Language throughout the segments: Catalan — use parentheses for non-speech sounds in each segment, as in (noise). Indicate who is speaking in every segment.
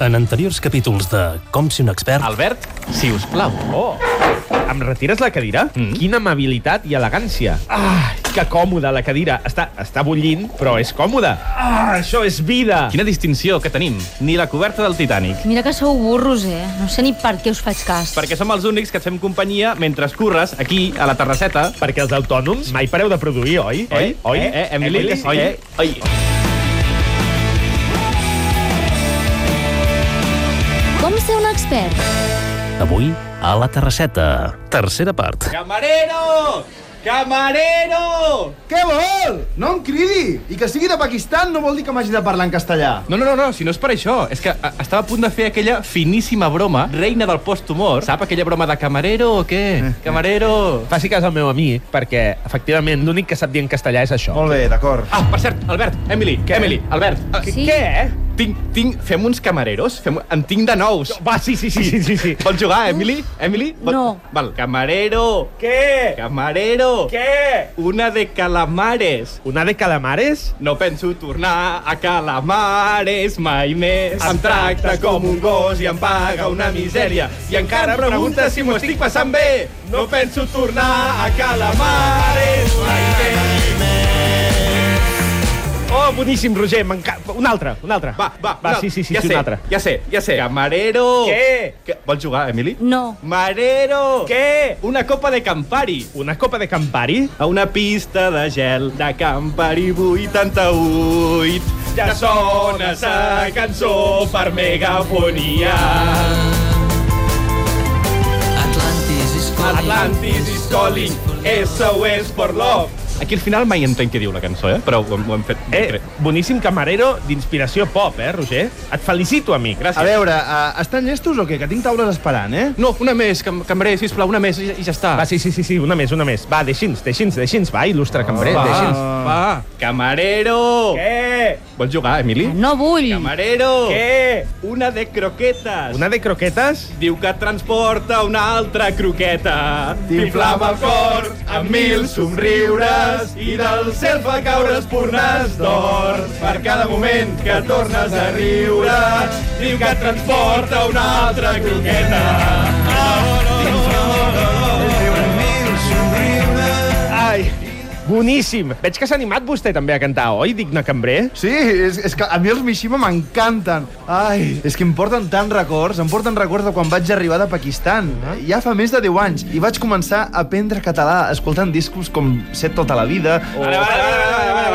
Speaker 1: en anteriors capítols de Com si un expert...
Speaker 2: Albert, si us plau.
Speaker 3: Oh, em retires la cadira? Mm. Quina amabilitat i elegància. Ah, que còmoda la cadira. Està, està bullint, però és còmoda. Ah, això és vida.
Speaker 2: Quina distinció que tenim. Ni la coberta del Titanic.
Speaker 4: Mira que sou burros, eh? No sé ni per què us faig cas.
Speaker 2: Perquè som els únics que et fem companyia mentre curres aquí, a la terrasseta.
Speaker 3: Perquè els autònoms mai pareu de produir, oi?
Speaker 2: Oi? Oi? Eh, Emily?
Speaker 3: que sí,
Speaker 2: Oi?
Speaker 3: eh?
Speaker 2: Oi?
Speaker 4: Com ser un expert?
Speaker 1: Avui, a la terrasseta. Tercera part.
Speaker 2: Camarero! Camarero!
Speaker 5: Què vol? No em cridi! I que sigui de Pakistan no vol dir que m'hagi de parlar en castellà.
Speaker 2: No, no, no, no, si no és per això. És que a, estava a punt de fer aquella finíssima broma, reina del posthumor. Sap aquella broma de camarero o què? Camarero!
Speaker 3: Eh, Faci cas al meu amic, perquè, efectivament, l'únic que sap dir en castellà és això.
Speaker 5: Molt bé, d'acord.
Speaker 2: Ah, per cert, Albert, Emily,
Speaker 3: Què?
Speaker 2: Emily, Albert. eh,
Speaker 4: Sí.
Speaker 3: Què?
Speaker 2: Tinc, tinc, fem uns camareros? Fem, en tinc de nous.
Speaker 3: Va, sí, sí, sí, sí, sí. sí.
Speaker 2: (laughs) Vols jugar, Emily? Emily? Vol-
Speaker 4: No.
Speaker 2: Val, camarero!
Speaker 3: Què?
Speaker 2: Camarero!
Speaker 3: Què?
Speaker 2: Una de calamares.
Speaker 3: Una de calamares?
Speaker 2: No penso tornar a calamares mai més.
Speaker 3: Em tracta com un gos i em paga una misèria. I encara em pregunta si m'ho estic passant bé. No
Speaker 2: penso tornar a calamares mai més.
Speaker 3: Oh, boníssim, Roger, m'encanta. Un altre, un altre.
Speaker 2: Va, va,
Speaker 3: va
Speaker 2: no,
Speaker 3: sí, sí, sí,
Speaker 2: ja
Speaker 3: sí,
Speaker 2: sé,
Speaker 3: un altre.
Speaker 2: Ja sé, ja sé. Camarero!
Speaker 3: Què?
Speaker 2: Que... Vols jugar, Emili?
Speaker 4: No.
Speaker 2: Marero!
Speaker 3: Què?
Speaker 2: Una copa de Campari.
Speaker 3: Una copa de Campari?
Speaker 2: A una pista de gel de Campari 88
Speaker 3: Ja sona sa cançó
Speaker 2: per megafonia.
Speaker 6: Atlantis is calling.
Speaker 2: SOS for love. Aquí al final mai entenc què diu la cançó, eh? Però ho, hem- ho hem fet...
Speaker 3: Eh, boníssim camarero d'inspiració pop, eh, Roger? Et felicito, amic.
Speaker 5: A veure, uh, estan llestos o què? Que tinc taules esperant, eh?
Speaker 2: No, una més, cam cambrer, sisplau, una més i, i ja està.
Speaker 3: Va, sí, sí, sí, sí, una més, una més. Va, deixi'ns, deixi'ns, deixi'ns. Va, il·lustre cambrer,
Speaker 2: Ah, va,
Speaker 3: deixi'ns.
Speaker 2: va. Camarero!
Speaker 3: Què?
Speaker 2: Vols jugar, Emili?
Speaker 4: No vull.
Speaker 2: Camarero!
Speaker 3: Què?
Speaker 2: Una de croquetes.
Speaker 3: Una de croquetes?
Speaker 2: Diu que transporta una altra croqueta. T'inflama el cor amb mil somriures i del cel fa caure espurnades d'or. Per cada moment que tornes a riure, diu que transporta una altra croqueta.
Speaker 3: Ai, boníssim. Veig que s'ha animat vostè també a cantar, oi, digne cambrer?
Speaker 5: Sí, és, és que a mi els Mishima m'encanten. Ai, és que em porten tants records, em porten records de quan vaig arribar de Pakistan. Ja fa més de 10 anys i vaig començar a aprendre català escoltant discos com Set tota la vida.
Speaker 2: Vale, vale, vale, vale, vale,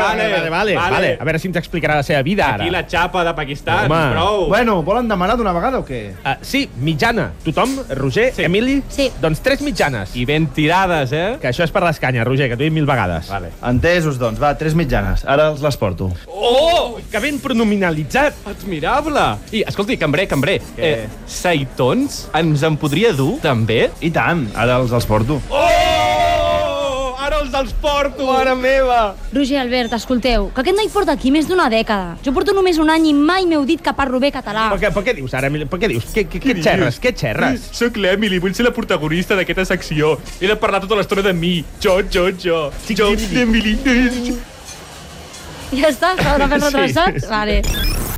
Speaker 3: vale, vale, vale. A veure si ens explicarà la seva vida, ara.
Speaker 2: Aquí la xapa de Pakistan,
Speaker 3: Home.
Speaker 2: prou.
Speaker 5: Bueno, volen demanar d'una vegada o què?
Speaker 3: Uh, sí, mitjana. Tothom? Roger?
Speaker 2: Sí.
Speaker 3: Emili?
Speaker 4: Sí.
Speaker 3: Doncs tres mitjanes. I...
Speaker 2: ben tirades, eh?
Speaker 3: Que això és per les canyes, Roger, que t'ho he dit mil vegades.
Speaker 2: Vale.
Speaker 5: Entesos, doncs. Va, tres mitjanes. Ara els les porto.
Speaker 3: Oh, que ben pronominalitzat.
Speaker 2: Admirable! I, escolti, cambrer, cambrer,
Speaker 5: Què?
Speaker 2: eh, seitons ens en podria dur, també?
Speaker 5: I tant, ara els els porto.
Speaker 2: Oh! Ara els dels porto! Mare meva!
Speaker 4: Roger Albert, escolteu, que aquest noi porta aquí més d'una dècada. Jo porto només un any i mai m'heu dit que parlo bé català.
Speaker 3: Però què, però què dius ara, Emili? Però què dius? Què, què, què xerres? Què xerres?
Speaker 7: Soc l'Emily, vull ser la protagonista d'aquesta secció. He de parlar tota l'estona de mi. Jo, jo, jo. Jo, Emily.
Speaker 4: Ja està? S'ha de fer retrasat? Vale.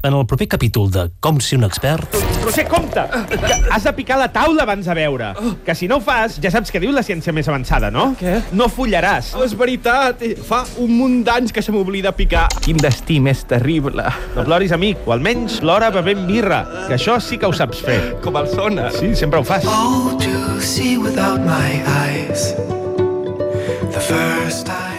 Speaker 1: En el proper capítol de Com si un expert...
Speaker 3: Roger, compte! Que has de picar la taula abans de veure. Que si no ho fas, ja saps què diu la ciència més avançada, no?
Speaker 2: Què?
Speaker 3: No follaràs.
Speaker 2: Oh, és veritat, eh, fa un munt d'anys que se m'oblida picar. Quin destí més terrible.
Speaker 3: No ploris, amic, o almenys plora bevent birra, que això sí que ho saps fer.
Speaker 2: Com el sona.
Speaker 3: Sí, sempre ho fas.
Speaker 6: Oh, to see without my eyes. The first time.